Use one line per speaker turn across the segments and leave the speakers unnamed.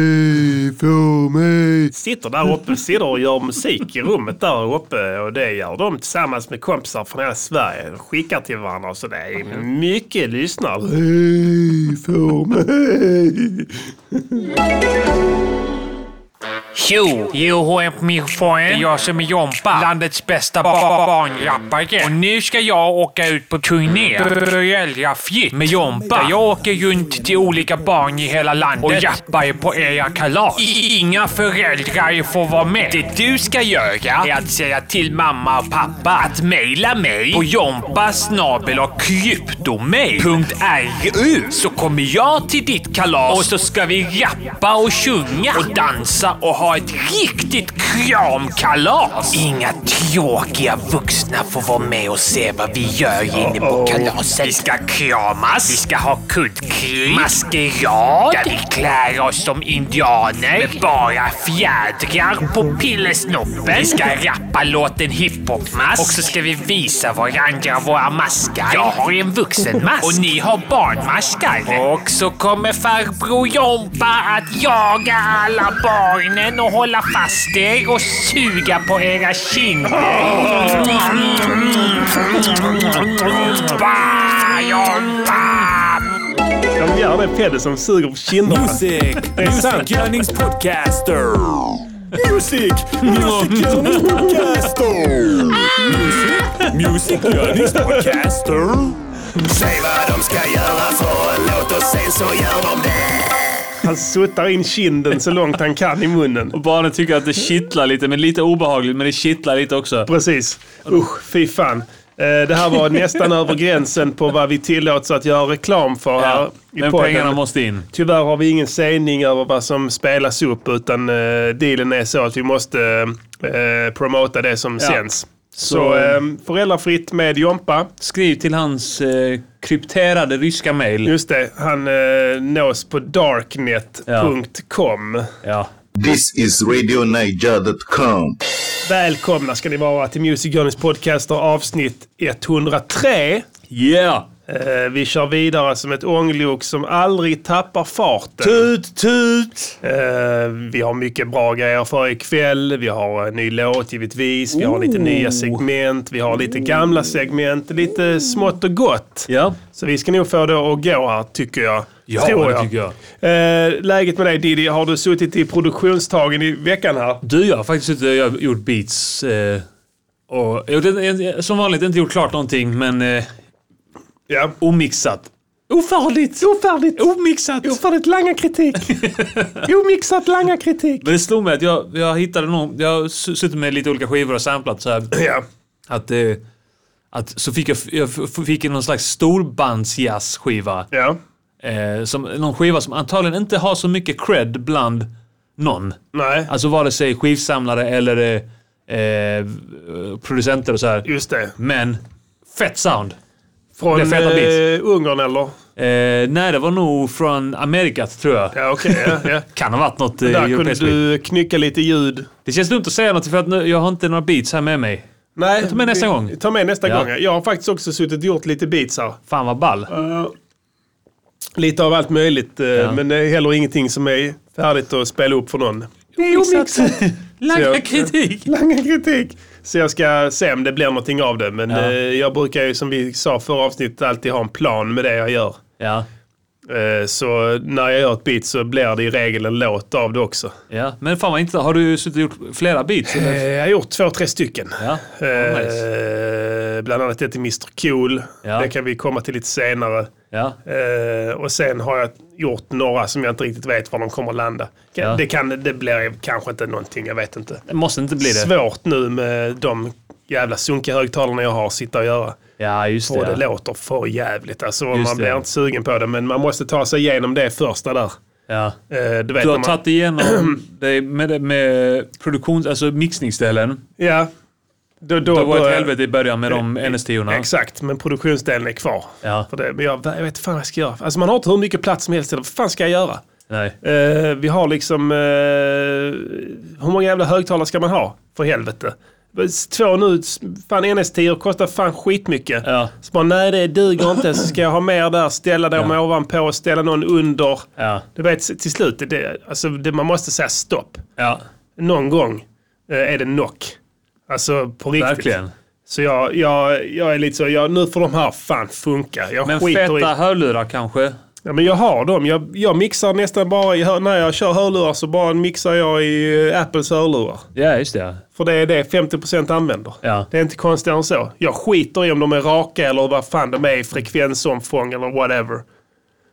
Hej, för mig!
Sitter där uppe, sitter och gör musik i rummet där uppe och det gör de tillsammans med kompisar från hela Sverige. De skickar till varandra och så det är mycket lyssnare.
Hej, för mig!
Tjo! Johoep Miffoe. Det är jag som är Jompa. Landets bästa ba- ba- barnrappare. Och nu ska jag åka ut på turné. Föräldrafritt. Med Jompa. Jag åker runt till olika barn i hela landet. Och rappar på era kalas. I- Inga föräldrar får vara med. Det du ska göra är att säga till mamma och pappa att mejla mig på jompasnabel och kryptomail.ru så kommer jag till ditt kalas och så ska vi rappa och sjunga och dansa och ha ett riktigt kramkalas. Inga tråkiga vuxna får vara med och se vad vi gör inne på kalaset. Vi ska kramas, vi ska ha kuddkrig, maskerad, där vi klär oss som indianer med bara fjädrar på pillesnoppen. Vi ska rappa låten hiphopmask och så ska vi visa varandra våra maskar. Jag har en vuxenmask och ni har barnmaskar. Och så kommer farbror Jompa att jaga alla barnen och hålla fast er och suga på era kinder. Jompa, Jompa!
De gör det Pelle som suger på kinderna.
Music!
Det är sant.
Music-görningspodcaster!
Musik! Musikgörningspodcaster!
Music-görningspodcaster!
Säg vad de ska göra för en låt och sen så gör de det.
Han suttar in kinden så långt han kan i munnen.
Och barnen tycker att det kittlar lite, men lite obehagligt, men det kittlar lite också.
Precis. Usch, fy fan. Eh, Det här var nästan över gränsen på vad vi tillåts att göra reklam för här
Ja,
i
men
podden.
pengarna måste in.
Tyvärr har vi ingen sändning över vad som spelas upp utan eh, dealen är så att vi måste eh, promota det som sänds. Så,
Så,
eh, föräldrafritt med Jompa.
Skriv till hans eh, krypterade ryska mail.
Just det, han eh, nås på darknet.com.
Ja.
This is RadioNiger.com.
Välkomna ska ni vara till Music Journeys podcaster avsnitt 103.
Yeah!
Eh, Vi kör vidare som ett ånglok som aldrig tappar farten.
Tut, tut!
Eh, Vi har mycket bra grejer för ikväll. Vi har en ny låt givetvis. Vi har lite nya segment. Vi har lite gamla segment. Lite smått och gott.
Ja.
Så vi ska nog få det att gå här, tycker jag.
Ja, det tycker jag.
Eh, läget med dig Diddy, har du suttit i produktionstagen i veckan här?
Du, jag har faktiskt inte jag har gjort beats. Eh, och, jag har inte- som vanligt inte gjort klart någonting, men eh,
Ja.
omixat. Ofärdigt!
Ofärdigt!
Omixat!
Ofärdigt langa kritik! Omixat langa kritik!
Men det slog mig att jag, jag hittade någon, jag har su- suttit med lite olika skivor och samplat så här.
Ja.
Att, eh, att så fick jag, f- jag f- fick någon slags storbandsjazzskiva.
Ja.
Eh, som, någon skiva som antagligen inte har så mycket cred bland någon.
Nej.
Alltså vare sig skivsamlare eller eh, eh, producenter och så här.
Just det.
Men fett sound.
Från
Det är feta
eh, Ungern eller?
Eh, nej, det var nog från Amerikat tror jag.
Ja, okej. ja, ja.
Kan ha varit något eh,
Där kunde
europeiskt. beat.
du knycka lite ljud.
Det känns dumt att säga något för att nu, jag har inte några beats här med mig.
Nej,
tar med nästa
vi-
gång.
Ta med nästa
Ja.
gång. ja. Jag har faktiskt också suttit och gjort lite beats här.
Fan vad ball.
Lite av allt möjligt, eh, men det är heller ingenting som är färdigt att spela upp för någon. Så
Langa
jag-
kritik.
Langa kritik! Så jag ska se om det blir någonting av det. Men eh, jag brukar ju som vi sa förra avsnittet alltid ha en plan med det jag gör.
Ja,
Eh, så när jag gör ett beat så blir det i regel en låt av det också.
ja. Men fan vad inte. Har du suttit och gjort flera beats?
Eh,
eller?
jag har gjort två, tre stycken.
Ja.
Eh,
Oh, nice.
Bland annat ett till Mr Cool.
Ja.
Det kan vi komma till lite senare.
Ja.
Eh, och sen har jag gjort några som jag inte riktigt vet var de kommer att landa. Kan-
Ja.
Det, kan, det blir kanske inte någonting, jag vet inte.
Det måste inte bli det.
Svårt nu med de jävla sunkiga högtalarna jag har att sitta och göra.
Ja, just
Och det
det. Ja.
låter för jävligt. Alltså,
Just
man blir
det.
inte sugen på det, men man måste ta sig igenom det första där.
ja.
Eh, du vet
Du
när
har
man,
tagit igenom det med, med produktions... Alltså mixningsdelen.
Ja. Då, då,
Det var ett
börjar-
helvete i början med de ns 10
Exakt, men produktionsdelen är kvar.
Ja.
För det, men jag, jag vet inte fan vad jag ska göra. Alltså man har inte hur mycket plats som helst. Vad fan ska jag göra?
Nej.
Eh, vi har liksom... eh, hur många jävla högtalare ska man ha? För helvete. Två nu, fan NS10 kostar fan skitmycket.
Ja.
Så bara, nej det duger inte. Så ska jag ha mer där, ställa dem ovanpå, ställa någon under.
Ja.
Du vet, till slut, det- det, alltså, det, man måste säga stopp.
Ja,
Någon gång eh, är det knock. Alltså på riktigt.
verkligen.
Så jag, jag, jag är lite så, jag, nu får de här fan funka. Jag
Men
skiter i...
feta hörlurar kanske?
Ja, men jag har dem. Jag, jag mixar nästan bara i hör, När jag kör hörlurar så bara mixar jag i eh, Apples hörlurar.
Ja, just det.
För det är det 50% använder.
Ja.
Det är inte konstigare än så. Jag skiter i om de är raka eller vad fan de är i frekvensomfång eller whatever.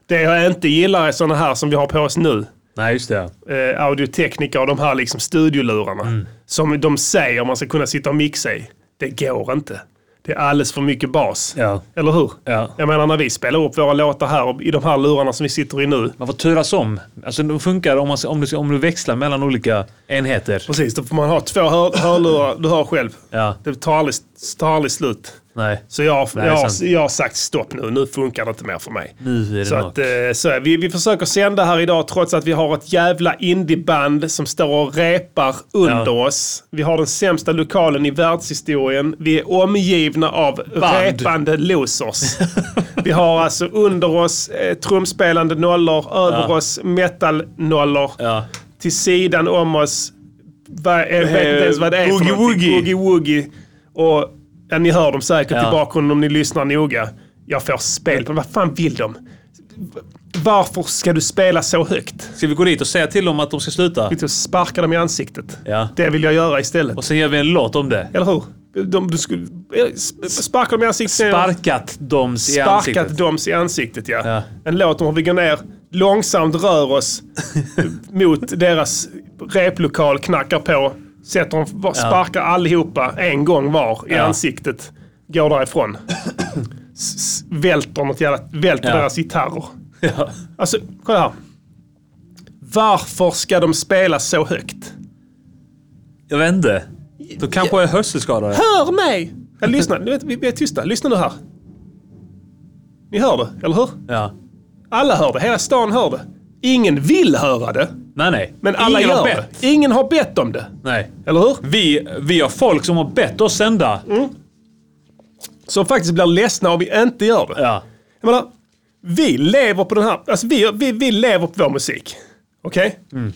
Det jag inte gillar är sådana här som vi har på oss nu.
Nej, just det.
Eh, audiotekniker och de här liksom studiolurarna.
Mm.
Som de säger man ska kunna sitta och mixa i. Det går inte. Det är alldeles för mycket bas.
Ja.
Eller hur?
Ja.
Jag menar när vi spelar upp våra låtar här och i de här lurarna som vi sitter i nu.
Man får turas om. Alltså, de funkar om, man, om, du, om du växlar mellan olika enheter.
Precis, då får man ha två hör, hörlurar. Du hör själv.
Ja.
Det tar aldrig, tar aldrig slut.
Nej.
Så jag,
Nej,
jag, har-
sant.
jag har sagt stopp nu. Nu funkar det inte mer för mig.
Nu är det
så
knock.
att, eh, så är, vi, vi försöker sända här idag trots att vi har ett jävla indieband som står och repar under
Ja.
oss. Vi har den sämsta lokalen i världshistorien. Vi är omgivna av repande losers. vi har alltså under oss eh, trumspelande nollor, över oss metal-nollor.
Ja.
Till sidan om oss, va, jag vet inte ens vad det är
Boogie
för någonting. Boogie
Woogie.
Woogie. Och ja, ni hör dem säkert
Ja.
i bakgrunden om ni lyssnar noga. Jag får spel på Vad fan vill de? Varför ska du spela så högt?
Ska vi gå dit och säga till dem att de ska sluta?
Lite och sparka dem i ansiktet.
Ja.
Det vill jag göra istället.
Och sen gör vi en låt om det.
Eller hur? De, du skulle, eh, sp- sparka dem i ansiktet.
Sparkat dem i
Sparkat
ansiktet.
doms i ansiktet, ja.
Ja.
En låt om hur vi går ner, långsamt rör oss mot deras replokal, knackar på, sätter dem, bara sparkar allihopa en gång var i
Ja.
ansiktet, går därifrån. S- s- välter något jävla, välter
Ja.
deras gitarrer.
Ja.
Alltså, kolla här. Varför ska de spela så högt?
Jag vet inte. Då kanske jag är hörselskadade.
Hör mig! Ja, lyssna, nu vet- vi vi är tysta. Lyssna nu här. Ni hör det, eller hur?
Ja.
Alla hör det, hela stan hör det. Ingen vill höra det,
Nej, nej.
men alla
Ingen
gör
har
det.
bett.
Ingen har bett om det,
Nej.
eller hur?
Vi, vi har folk som har bett oss sända.
Mm. Som faktiskt blir ledsna om vi inte gör det.
Ja.
Jag menar, vi lever på den här, alltså vi, vi, vi lever på vår musik. Okej?
Mm.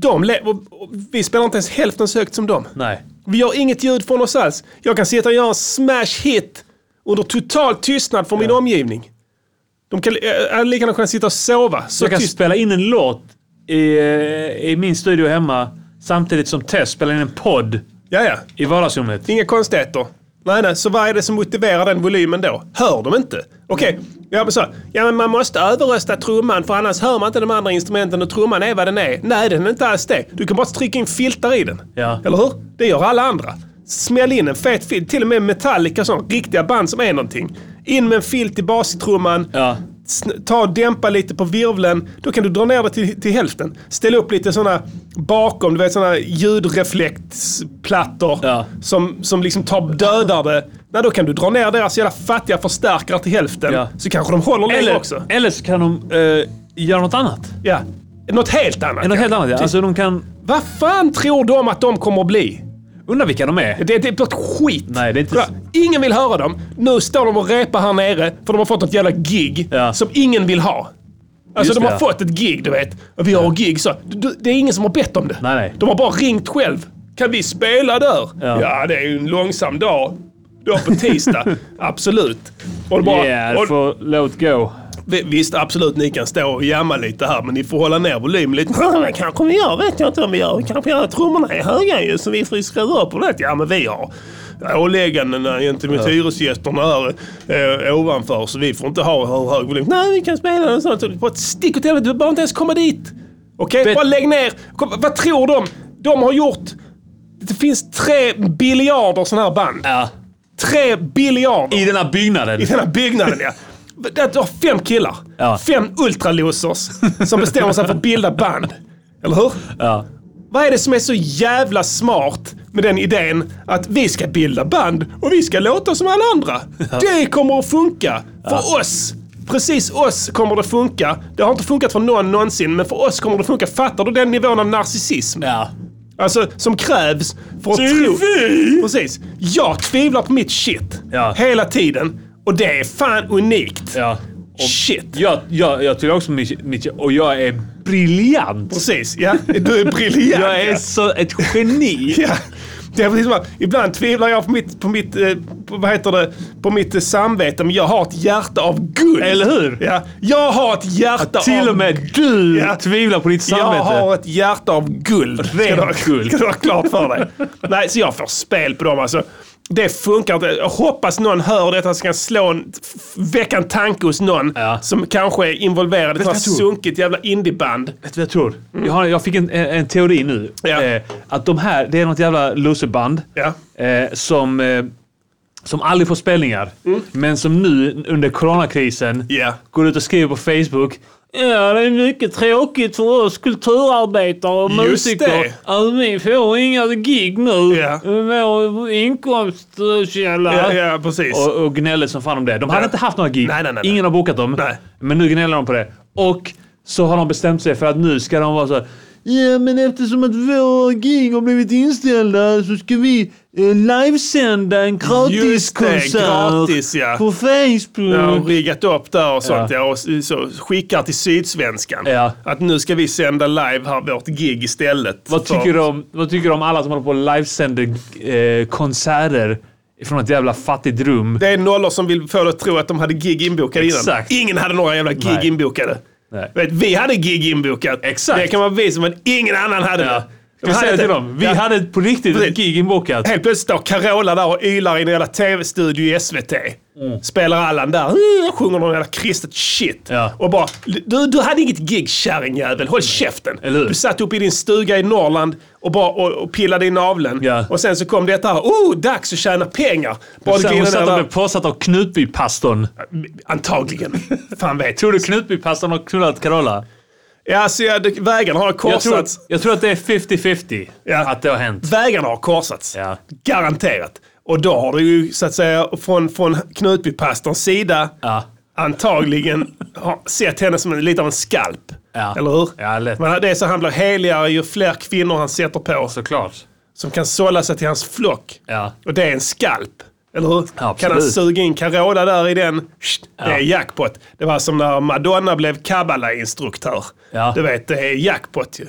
De lever, och- och vi spelar inte ens hälften så högt som dem.
Nej.
Vi gör inget ljud från oss alls. Jag kan sitta och göra en smash hit under total tystnad från min omgivning. De kan äh, lika gärna kunna sitta och sova. Så
Jag kan
tyst.
spela in en låt i, eh, i min studio hemma samtidigt som Tess spelar in en podd
Ja, ja.
i vardagsrummet.
Inga konstigheter. Nej, nej, så vad är det som motiverar den volymen då? Hör de inte? Okej, ja, men så, ja men man måste överrösta trumman för annars hör man inte de andra instrumenten och trumman är vad den är. Nej, den är inte alls det. Du kan bara trycka in filtar i den.
Ja.
Eller hur? Det gör alla andra. Smäll in en fet filt, till och med Metallica och sånt, riktiga band som är någonting. In med en filt i bastrumman,
Ja.
Sn- ta och dämpa lite på virvlen. Då kan du dra ner det till, till hälften. Ställ upp lite sådana bakom, du vet sådana ljudreflektsplattor
Ja.
som, som liksom tar, dödar det. Nej, då kan du dra ner deras jävla fattiga förstärkare till hälften.
Ja.
Så kanske de håller längre
Eller,
också.
eller så kan de eh, göra något annat.
Ja. Något helt annat.
Något
ja.
helt annat. Ja. Alltså de kan...
Vad fan tror de att de kommer att bli?
Undra vilka de är.
Det, det är blott skit.
Nej, det är inte
Kolla,
så-
Ingen vill höra dem. Nu står de och repar här nere för de har fått ett jävla gig
Ja.
som ingen vill ha. Alltså
Just
de
det,
har
ja.
fått ett gig, du vet. Och vi har gig så. Du- du- Det är ingen som har bett om det.
Nej, nej.
De har bara ringt själv. Kan vi spela där?
Ja.
det är ju en långsam dag. Då på tisdag. absolut. Och det bara,
Yeah,
och,
får låt gå.
vi- Visst, absolut, ni kan stå och jamma lite här, men ni får hålla ner volymen lite. Ja, men kanske vi gör, vet jag inte om vi gör. Kanske gör trummorna är höga ju, så vi får ju skruva upp på det. Ja, men vi har ålägganden gentemot hyresgästerna här eh, ovanför, så vi får inte ha hur hög volym. Nej, vi kan spela den sånt. Bara stick åt helvete, du behöver inte ens komma dit. Okej, bara lägg ner. Kom, vad tror de? De har gjort... Det finns tre biljarder sådana här band.
Ja.
Tre biljarder.
I den här byggnaden.
I den här byggnaden ja. Där du har fem killar.
Ja.
Fem ultralosers som bestämmer sig för att bilda band. Eller hur?
Ja.
Vad är det som är så jävla smart med den idén att vi ska bilda band och vi ska låta som alla andra? Det kommer att funka för oss. Precis oss kommer det funka. Det har inte funkat för någon någonsin, men för oss kommer det funka. Fattar du den nivån av narcissism?
Ja.
Alltså som krävs för att tro... Precis. Jag tvivlar på mitt shit.
Ja.
Hela tiden. Och det är fan unikt.
Ja. Och
Shit.
jag, jag, jag tycker också om Mitch, Mitch och jag är briljant.
Precis, ja. Du är briljant.
Jag är
ja.
så ett geni.
Ja. Det är precis som att ibland tvivlar jag på mitt, på mitt, eh, på, vad heter det, på mitt eh, samvete, men jag har ett hjärta av guld.
Eller hur?
Ja, jag har ett hjärta
Till
av
och med du
Ja.
tvivlar på ditt
Jag
samvete.
har ett hjärta av guld. Ska du ha-
guld.
Ska du ha klart för dig. Nej, så jag får spel på dem alltså. Det funkar inte. Jag hoppas någon hör detta så kan slå en, f- väcka en tanke hos någon
Ja.
som kanske är involverad i ett sånt
du
här
vad jag tror?
sunkigt jävla indieband.
Vet du vad jag tror? Mm. Jag, har, jag fick en, en, en teori nu.
Ja.
Eh, att de här, det är något jävla lusseband
Ja.
eh, som, eh, som aldrig får spelningar. Men som nu under coronakrisen
Mm. Ja.
går ut och skriver på Facebook. Ja, det är mycket tråkigt för oss kulturarbetare och
Just
musiker
det.
att vi får inga gig nu.
Ja.
Vår inkomstkälla.
Ja, ja precis.
Och, och gnällde som fan om det. De hade
Ja.
inte haft några gig.
Nej, nej, nej, nej.
Ingen har bokat dem.
Nej.
Men nu gnäller de på det. Och så har de bestämt sig för att nu ska de vara så här, Ja, men eftersom att våra gig har blivit inställda så ska vi eh, livesända en
Just det,
gratiskonsert
gratis, ja.
på
Ja, och
Facebook.
riggat upp där och sånt. Ja. och s- så skickar till Sydsvenskan.
Ja.
Att nu ska vi sända live här vårt gig istället.
Vad tycker, du om, vad tycker du om alla som håller på och livesänder eh, konserter från ett jävla fattigt rum?
Det är nollor som vill få dig att tro att de hade gig inbokade
Exakt.
innan. Ingen hade några jävla gig
Nej.
inbokade.
Nej.
Vet, vi hade gig inbokat.
Exakt.
Det kan vara vi som, men ingen annan hade det.
Ska vi
hade
säga
inte-
till dem? Vi
Ja.
hade på riktigt ett
Precis.
gig inbokat.
Helt plötsligt står Carola där och ylar i en jävla tv-studio i SVT.
Mm.
Spelar Allan där. "Eh", Sjunger någon jävla kristet shit.
Ja.
Och bara, du, du hade inget gig kärringjävel. Håll käften.
Eller hur?
Du satt uppe i din stuga i Norrland och, bara, och, och pillade i naveln.
Ja.
Och sen så kom detta här. Oh, dags att tjäna pengar. Bara du
Sen
glider ner
hon satt och
där.
blev påsatt av Knutbypastorn.
Antagligen. Fan vet.
Tror du Knutbypastorn har knullat Carola?
Ja, så jag, det- vägarna har
Jag tror,
korsats.
jag tror att det är 50-50
Ja.
att det har hänt.
Vägarna har korsats.
Ja.
Garanterat. Och då har det ju så att säga från, från Knutbypastorns sida
Ja.
antagligen har sett henne som en, lite av en skalp.
Ja.
Eller hur?
Ja, lätt.
Men det är så han blir heligare ju fler kvinnor han sätter på
Såklart.
som kan sålla sig till hans flock.
Ja.
Och det är en skalp. Eller hur?
Absolut.
Kan han suga in Carola där i den? Sht, Det är jackpot. Det var som när Madonna blev Kabbala-instruktör.
Ja.
Du vet, det är jackpot ju.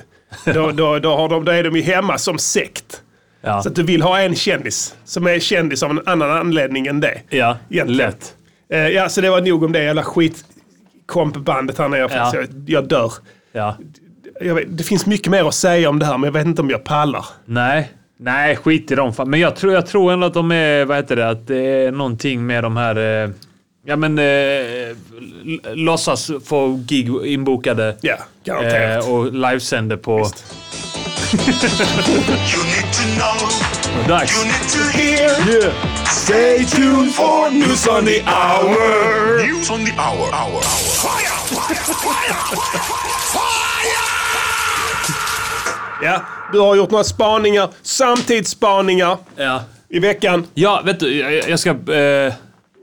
då, då, då, har de, då är de ju hemma som sekt.
Ja.
Så att du vill ha en kändis som är kändis av en annan anledning än det.
Ja,
Egentligen.
lätt.
Eh, ja, så det var nog om det jävla skitkompbandet här nere.
Ja.
Jag, jag dör.
Ja.
Jag vet, det finns mycket mer att säga om det här, men jag vet inte om jag pallar.
Nej. Nej, skit i dem. fan. Men jag tror, jag tror ändå att de är, vad heter det, att det är någonting med de här, eh, ja men, eh, l- låtsas få gig inbokade.
Ja, garanterat.
Eh, och livesänder på...
You need to know,
Dags.
need to hear
Stay tuned for news on the hour.
news on the hour. hour. Fire! Fire! Fire! Fire!
Ja, du har gjort några spaningar, samtidsspaningar
Ja.
i veckan.
Ja, vet du, jag, jag ska... Eh,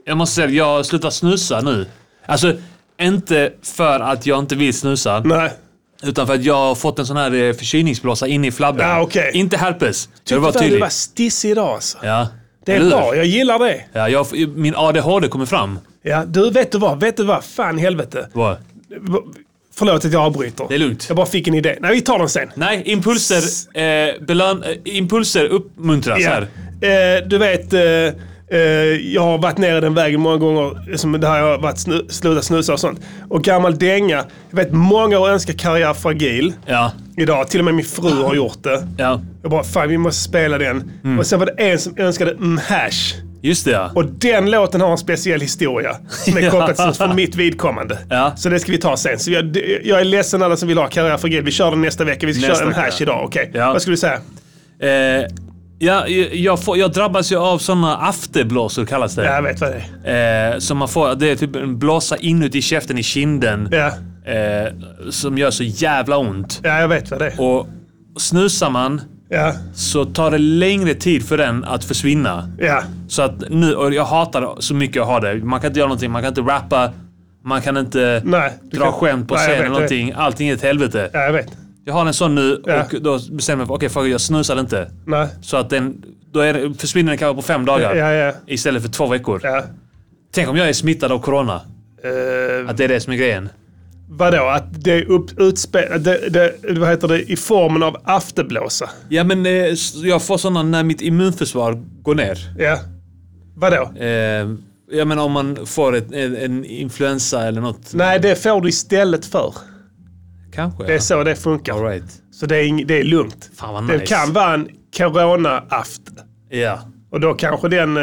jag måste säga, jag slutar snusa nu. Alltså, inte för att jag inte vill snusa,
Nej.
utan för att jag har fått en sån här eh, förkylningsblåsa inne i flabben.
Ja, Ah, okej.
Inte herpes. Jag vill vara
Fan, Du
tydlig.
var stissig idag alltså.
Ja.
Det är
Eller
bra,
hur?
jag gillar det.
Ja, jag, min ADHD kommer fram.
Ja, du, vet du vad? Vet du vad? Fan i helvete.
Vad?
Förlåt att jag avbryter.
Det är lugnt.
Jag bara fick en idé. Nej, vi tar den sen.
Nej, impulser, eh, belön, eh, impulser uppmuntras Alltså här.
Eh, du vet, eh, eh, jag har varit nere den vägen många gånger, som det här jag har varit snu, slutat snusa och sånt. Och gammal dänga. Jag vet, många har önskat karriär fragil
Ja.
idag. Till och med min fru har gjort det.
ja. Mm.
Jag bara, fan vi måste spela den. Och sen var det en som önskade mm hash.
Just det ja.
Och den låten har en speciell historia som är
Ja.
kopplad till för mitt vidkommande.
Ja.
Så det ska vi ta sen. Så jag, jag är ledsen alla som vill ha karriär för Gud. Vi kör den nästa vecka. Vi ska
Nästa
köra en hash
vecka.
idag, okej?
Ja.
Vad skulle du säga?
Eh, ja, jag, jag, får, jag drabbas ju av såna afterblåsor kallas det.
Ja, jag vet vad det är.
Eh, som man får, det är typ en blåsa inuti käften i kinden.
Ja,
Eh, som gör så jävla ont.
ja jag vet vad det är.
Och snusar man
Ja,
så tar det längre tid för den att försvinna.
ja.
Så att nu, och jag hatar det så mycket jag har det. Man kan inte göra någonting, man kan inte rappa, man kan inte
Nej, du
dra
kan-
skämt på
Nej, jag
scen
vet,
eller
jag vet.
någonting. Allting är ett helvete.
Ja, jag vet.
Jag har en sån nu
Ja.
och då bestämmer jag mig för, okej fuck it, jag snusar inte.
Nej.
Så att den, då är det, försvinner den kanske på fem dagar.
Ja, ja.
Istället för två veckor.
Ja.
Tänk om jag är smittad av corona.
Eh,
Att det är det som är grejen.
vadå? Att det är upp, utspel, det, det, vad heter det? I formen av afterblåsa?
Ja men eh, s- jag får såna när mitt immunförsvar går ner.
Ja. Vadå?
Eh, jag menar om man får ett, en, en influensa eller något.
Nej, det får du istället för.
Kanske.
Det är så det funkar.
All right.
Så det är, ing- det är lugnt.
Fan vad nice.
Det kan vara en corona-aft.
Ja.
Och då kanske den... eh,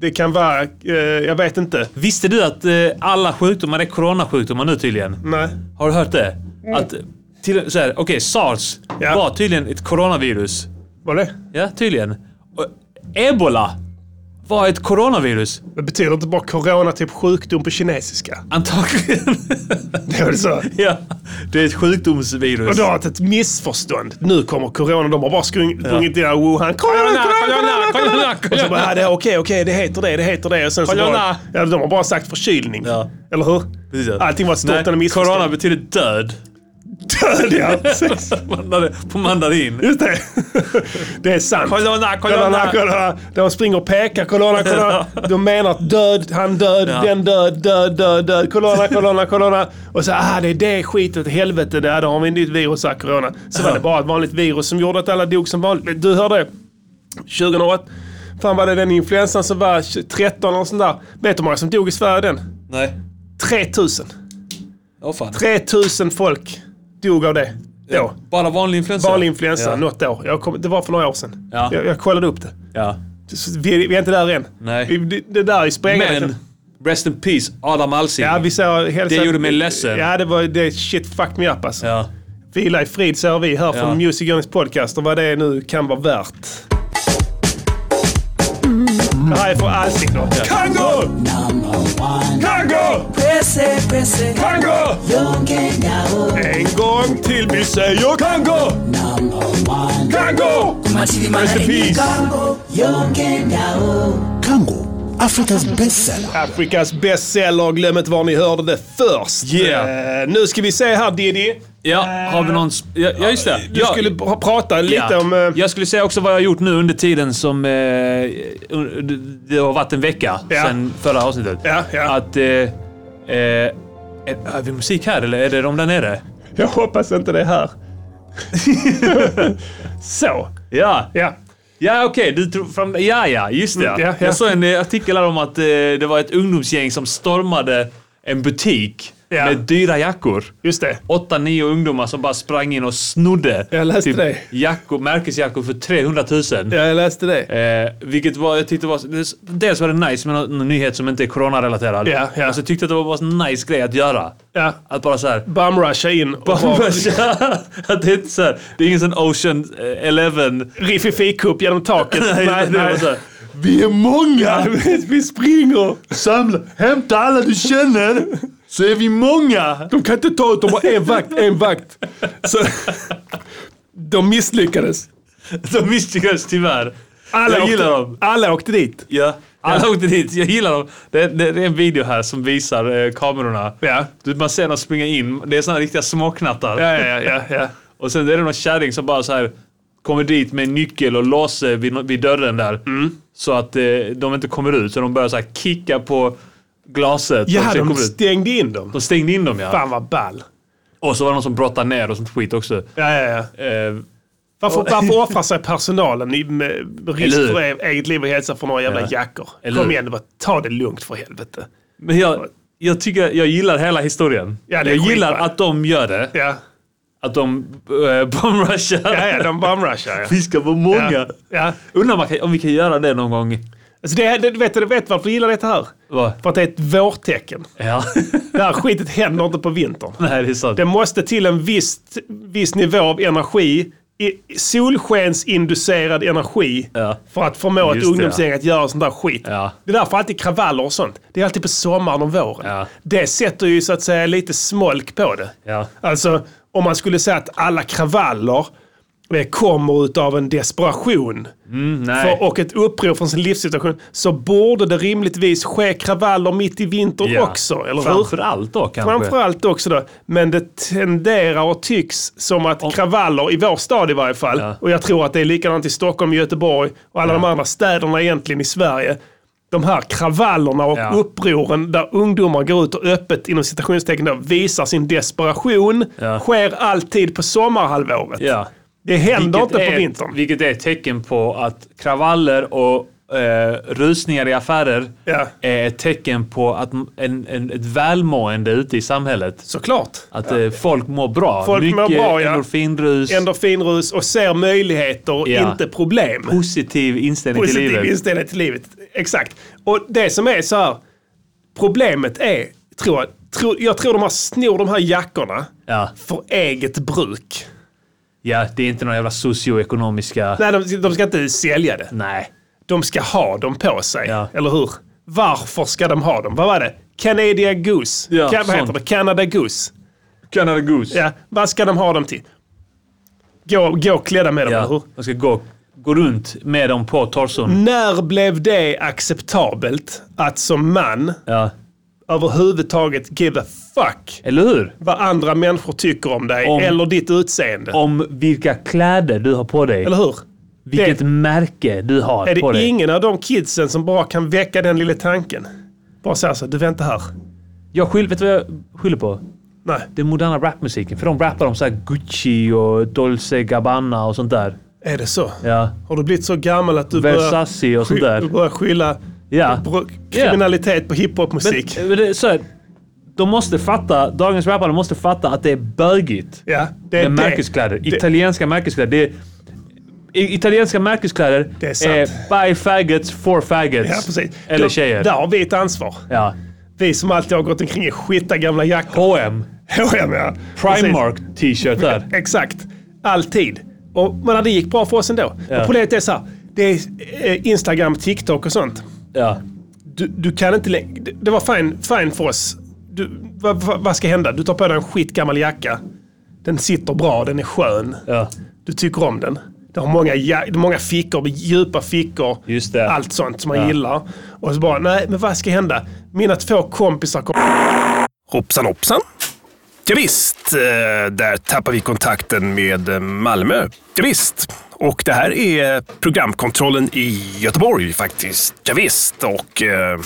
Det kan vara... eh, Jag vet inte.
Visste du att eh, alla sjukdomar är coronasjukdomar nu tydligen?
Nej.
Har du hört det? Att till, så här, okej, sars
Mm. Ja.
var tydligen ett coronavirus.
Var det?
Ja, tydligen. Och ebola var ett coronavirus.
Det betyder inte bara corona typ sjukdom på kinesiska?
Antagligen.
Det är väl så?
ja, det är ett sjukdomsvirus.
Och då har det ett missförstånd. Nu kommer corona. De har bara sprung- sprungit ja. i Wuhan. Corona, corona, corona, corona. Och så bara, ja, det är okej, okej, det heter det, det heter det. Och sen så
Corona.
bara, ja, de har bara sagt förkylning.
Ja.
Eller hur?
Precis, ja.
Allting var ett stort
Nej,
jävla missförstånd.
Corona betyder död.
Död, ja. Precis.
På mandarin.
Just det. Det är sant.
Corona,
Corona,
corona.
corona. De springer och pekar. Corona, corona. De menar att död, han död,
Ja.
den död, död, död, död. Corona, corona, corona. Och så, ah det är det skitet, helvete, där, där har vi ett nytt virus, här, corona. Så var det bara ett vanligt virus som gjorde att alla dog som vanligt. Men Du hörde, 2008, fan var det den influensan som var 13 eller sånt där. Vet du hur många som dog i Sverige den?
Nej.
3000.
Åh fan.
3000 folk dog av det. Då.
Bara vanlig influensa?
Vanlig influensa,
Ja.
något år. Jag kom, det var för några år sedan.
Ja.
Jag, jag kollade upp det.
Ja.
Så Vi, vi är inte där än.
Nej.
Vi, det, det där är sprängande.
Men, rest in peace, Adam Alsing.
Ja, vi såg hälsa...
Det gjorde mig ledsen.
Ja, det var... Det, shit, fuck me up alltså.
Ja.
Vila i frid säger vi här från
Ja.
Music Journeys podcast och vad det nu kan vara värt. Det här är för allting då.
Congo! Congo! Congo!
En gång till vi säger...
Yo, Congo! Congo!
Rest in peace!
Congo, Africa's bestseller.
Afrikas bestseller. Glöm inte var ni hörde det först.
Yeah.
Eh, nu ska vi se här Diddy.
ja, har vi någon... sp- Ja, ja just det.
Eh, Du
ja.
skulle pr- prata lite
Ja.
om... eh,
Jag skulle säga också vad jag har gjort nu under tiden som... Eh, un- det- det har varit en vecka
Ja.
sedan förra avsnittet.
Ja, ja.
Att... Eh, eh, är, har vi musik här eller är det de där nere?
Jag hoppas inte det är här. Så.
Ja,
Ja.
ja okej. Du tror fram... Ja, ja, just det.
Mm, ja, ja.
Jag såg en eh, artikel här om att eh, det var ett ungdomsgäng som stormade en butik
Ja.
med dyra jackor.
Just det.
åtta, nio ungdomar som bara sprang in och snodde typ
Jag läste det.
Jackor, märkesjackor för 300 000.
Ja, jag läste det.
Eh, vilket var, jag tyckte var... Dels var det nice med någon nyhet som inte är coronarelaterad.
Ja, ja.
Och så tyckte jag att det var bara en nice grej att göra.
Ja.
Att bara så här...
Bumrusha in och ha
att det, är inte så här, det är ingen sån Ocean eh, Eleven...
riffifikupp genom taket.
Nej, det var så här,
Vi är många! Vi springer! Samla, hämta alla du känner! Så är vi många!
De kan inte ta ut dem bara en vakt, en vakt. Så, de misslyckades.
de misslyckades tyvärr.
Alla
jag gillar
åkte,
dem.
Alla åkte dit.
Ja. Alla åkte dit. Jag gillar dem. Det, det, det är en video här som visar eh, kamerorna.
Ja.
Du, man ser dem springa in. Det är såna riktiga småknattar.
Ja, ja, ja. ja.
Och sen är det någon kärring som bara så här kommer dit med nyckel och låser vid, nå- vid dörren där.
Mm.
Så att eh, de inte kommer ut. Så de börjar så här kicka på glaset. och
ja
sen
de
kommer ut.
stängde in dem.
de stängde in dem ja.
Fan vad ball.
Och så var det någon som brottade ner och sånt skit också.
Ja, ja, ja.
Eh,
Varför, varför offrar sig personalen i- med risk
Eller hur?
för e- eget liv och hälsa för några jävla
Ja.
jackor?
Eller
Kom
hur?
igen, bara ta det lugnt för helvete.
men jag, jag tycker jag gillar hela historien.
Ja, det är
jag gillar
skitbra.
att de gör det.
Ja,
Att de eh, bombrushar.
ja, ja de bumrushar ja.
Vi ska vara många.
ja. ja.
Undrar om man kan- om vi kan göra det någon gång.
Alltså det, det, vet du vet varför du gillar det här?
Va?
För att det är ett vårtecken.
Ja.
Det här skitet händer inte på vintern.
Nej, det är sant.
Det måste till en viss, viss nivå av energi, i- solskensinducerad energi,
Ja.
för att förmå ett
Just det,
ungdomsgäng att göra sånt där skit.
Ja.
Det är därför alltid kravaller och sånt. Det är alltid på sommaren och våren.
Ja.
Det sätter ju så att säga lite smolk på det.
Ja.
Alltså, om man skulle säga att alla kravaller eh, kommer utav en desperation
Mm, Nej.
för, och ett uppror från sin livssituation så borde det rimligtvis ske kravaller mitt i vinter
Ja.
också, eller hur?
Framförallt då kanske.
Framförallt också då, men det tenderar och tycks som att kravaller, i vår stad i varje fall,
Ja.
och jag tror att det är likadant i Stockholm, Göteborg och alla de andra städerna egentligen i Sverige. De här kravallerna och
Ja.
upproren där ungdomar går ut och öppet, inom citationstecken, då, visar sin desperation,
Ja.
sker alltid på sommarhalvåret.
Ja.
Det händer inte
är,
på vintern.
Vilket är ett tecken på att kravaller och eh, rusningar i affärer
Ja.
är ett tecken på att m- en, en, ett välmående ute i samhället.
Såklart.
Att eh, folk mår bra.
Folk
Mycket
mår bra, ja.
endorfinrus.
Endorfinrus och ser möjligheter och
Ja.
inte problem.
Positiv inställning till
positiv
livet.
inställning till livet. Exakt. Och det som är så här, problemet är, tror jag, tror, jag tror de här snor de här jackorna
Ja.
för eget bruk.
ja, det är inte några jävla socioekonomiska...
Nej, de, de ska inte sälja det.
Nej.
De ska ha dem på sig,
Ja.
eller hur? Varför ska de ha dem? Vad var det? Canada Goose.
Ja,
Kan, vad heter
sånt.
det? Canada Goose.
Canada Goose.
Ja, vad ska de ha dem till? Gå, gå klädda med dem, eller hur? Mm.
Ja. De ska gå, gå runt med dem på torson.
När blev det acceptabelt att som man
Ja.
överhuvudtaget give a fuck
Eller hur?
vad andra människor tycker om dig
Om-
eller ditt utseende.
Om vilka kläder du har på dig.
Eller hur?
vilket
det-
märke du har
Är
på
det
dig.
ingen av de kidsen som bara kan väcka den lilla tanken? Bara säga så, du vänta här.
Jag skyller, vet du vad jag skyller på?
Nej,
Den moderna rapmusiken. För de rappar om så här Gucci och Dolce Gabbana och sånt där.
är det så?
Ja.
Har du blivit så gammal att du börjar,
Versace och sånt
sky- du
där.
börjar skylla
Ja.
bro- kriminalitet på hiphopmusik?
Men, men det, är så här, de måste fatta, dagens rappare måste fatta att det är bögigt.
Ja, det är
med
det.
märkeskläder. Italienska märkeskläder. Det är, i- italienska märkeskläder
Det är sant.
by faggots for faggots.
Ja, precis.
Eller
Då-
tjejer.
Där har vi ett ansvar.
Ja.
Vi som alltid har gått omkring i skita gamla jackor.
H&M
H&M ja.
Primark t-shirtar.
Exakt. Alltid. Och, men det gick bra för oss ändå.
Ja.
Och problemet är så här, det är eh, Instagram, TikTok och sånt.
Ja.
Du, du kan inte längre... det- Det var fine, fine för oss. Du, vad, vad, vad ska hända? Du tar på dig en skitgammal jacka. Den sitter bra, den är skön.
ja.
Du tycker om den. Den har många, ja, många fickor, djupa fickor.
Just det.
Allt sånt som man
Ja.
gillar. Och så bara, nej men vad ska hända? Mina två kompisar kommer...
Hoppsan hoppsan. Ja, visst, eh, där tappar vi kontakten med eh, Malmö. Ja, visst. Och det här är programkontrollen i Göteborg faktiskt. Ja, visst. och... eh,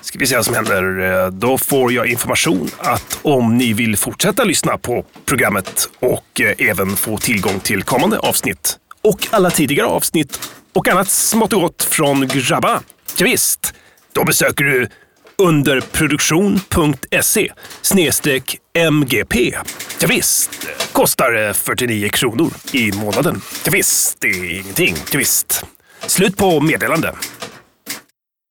ska vi se vad som händer. Eh, Då får jag information att om ni vill fortsätta lyssna på programmet och eh, även få tillgång till kommande avsnitt och alla tidigare avsnitt och annat smått och gott från grabbarna. Ja, visst, då besöker du underproduktion.se E snedstreck MGP. Ja, visst, kostar eh, 49 kronor i månaden. Ja, visst, det är ingenting. Ja, visst. Slut på meddelande.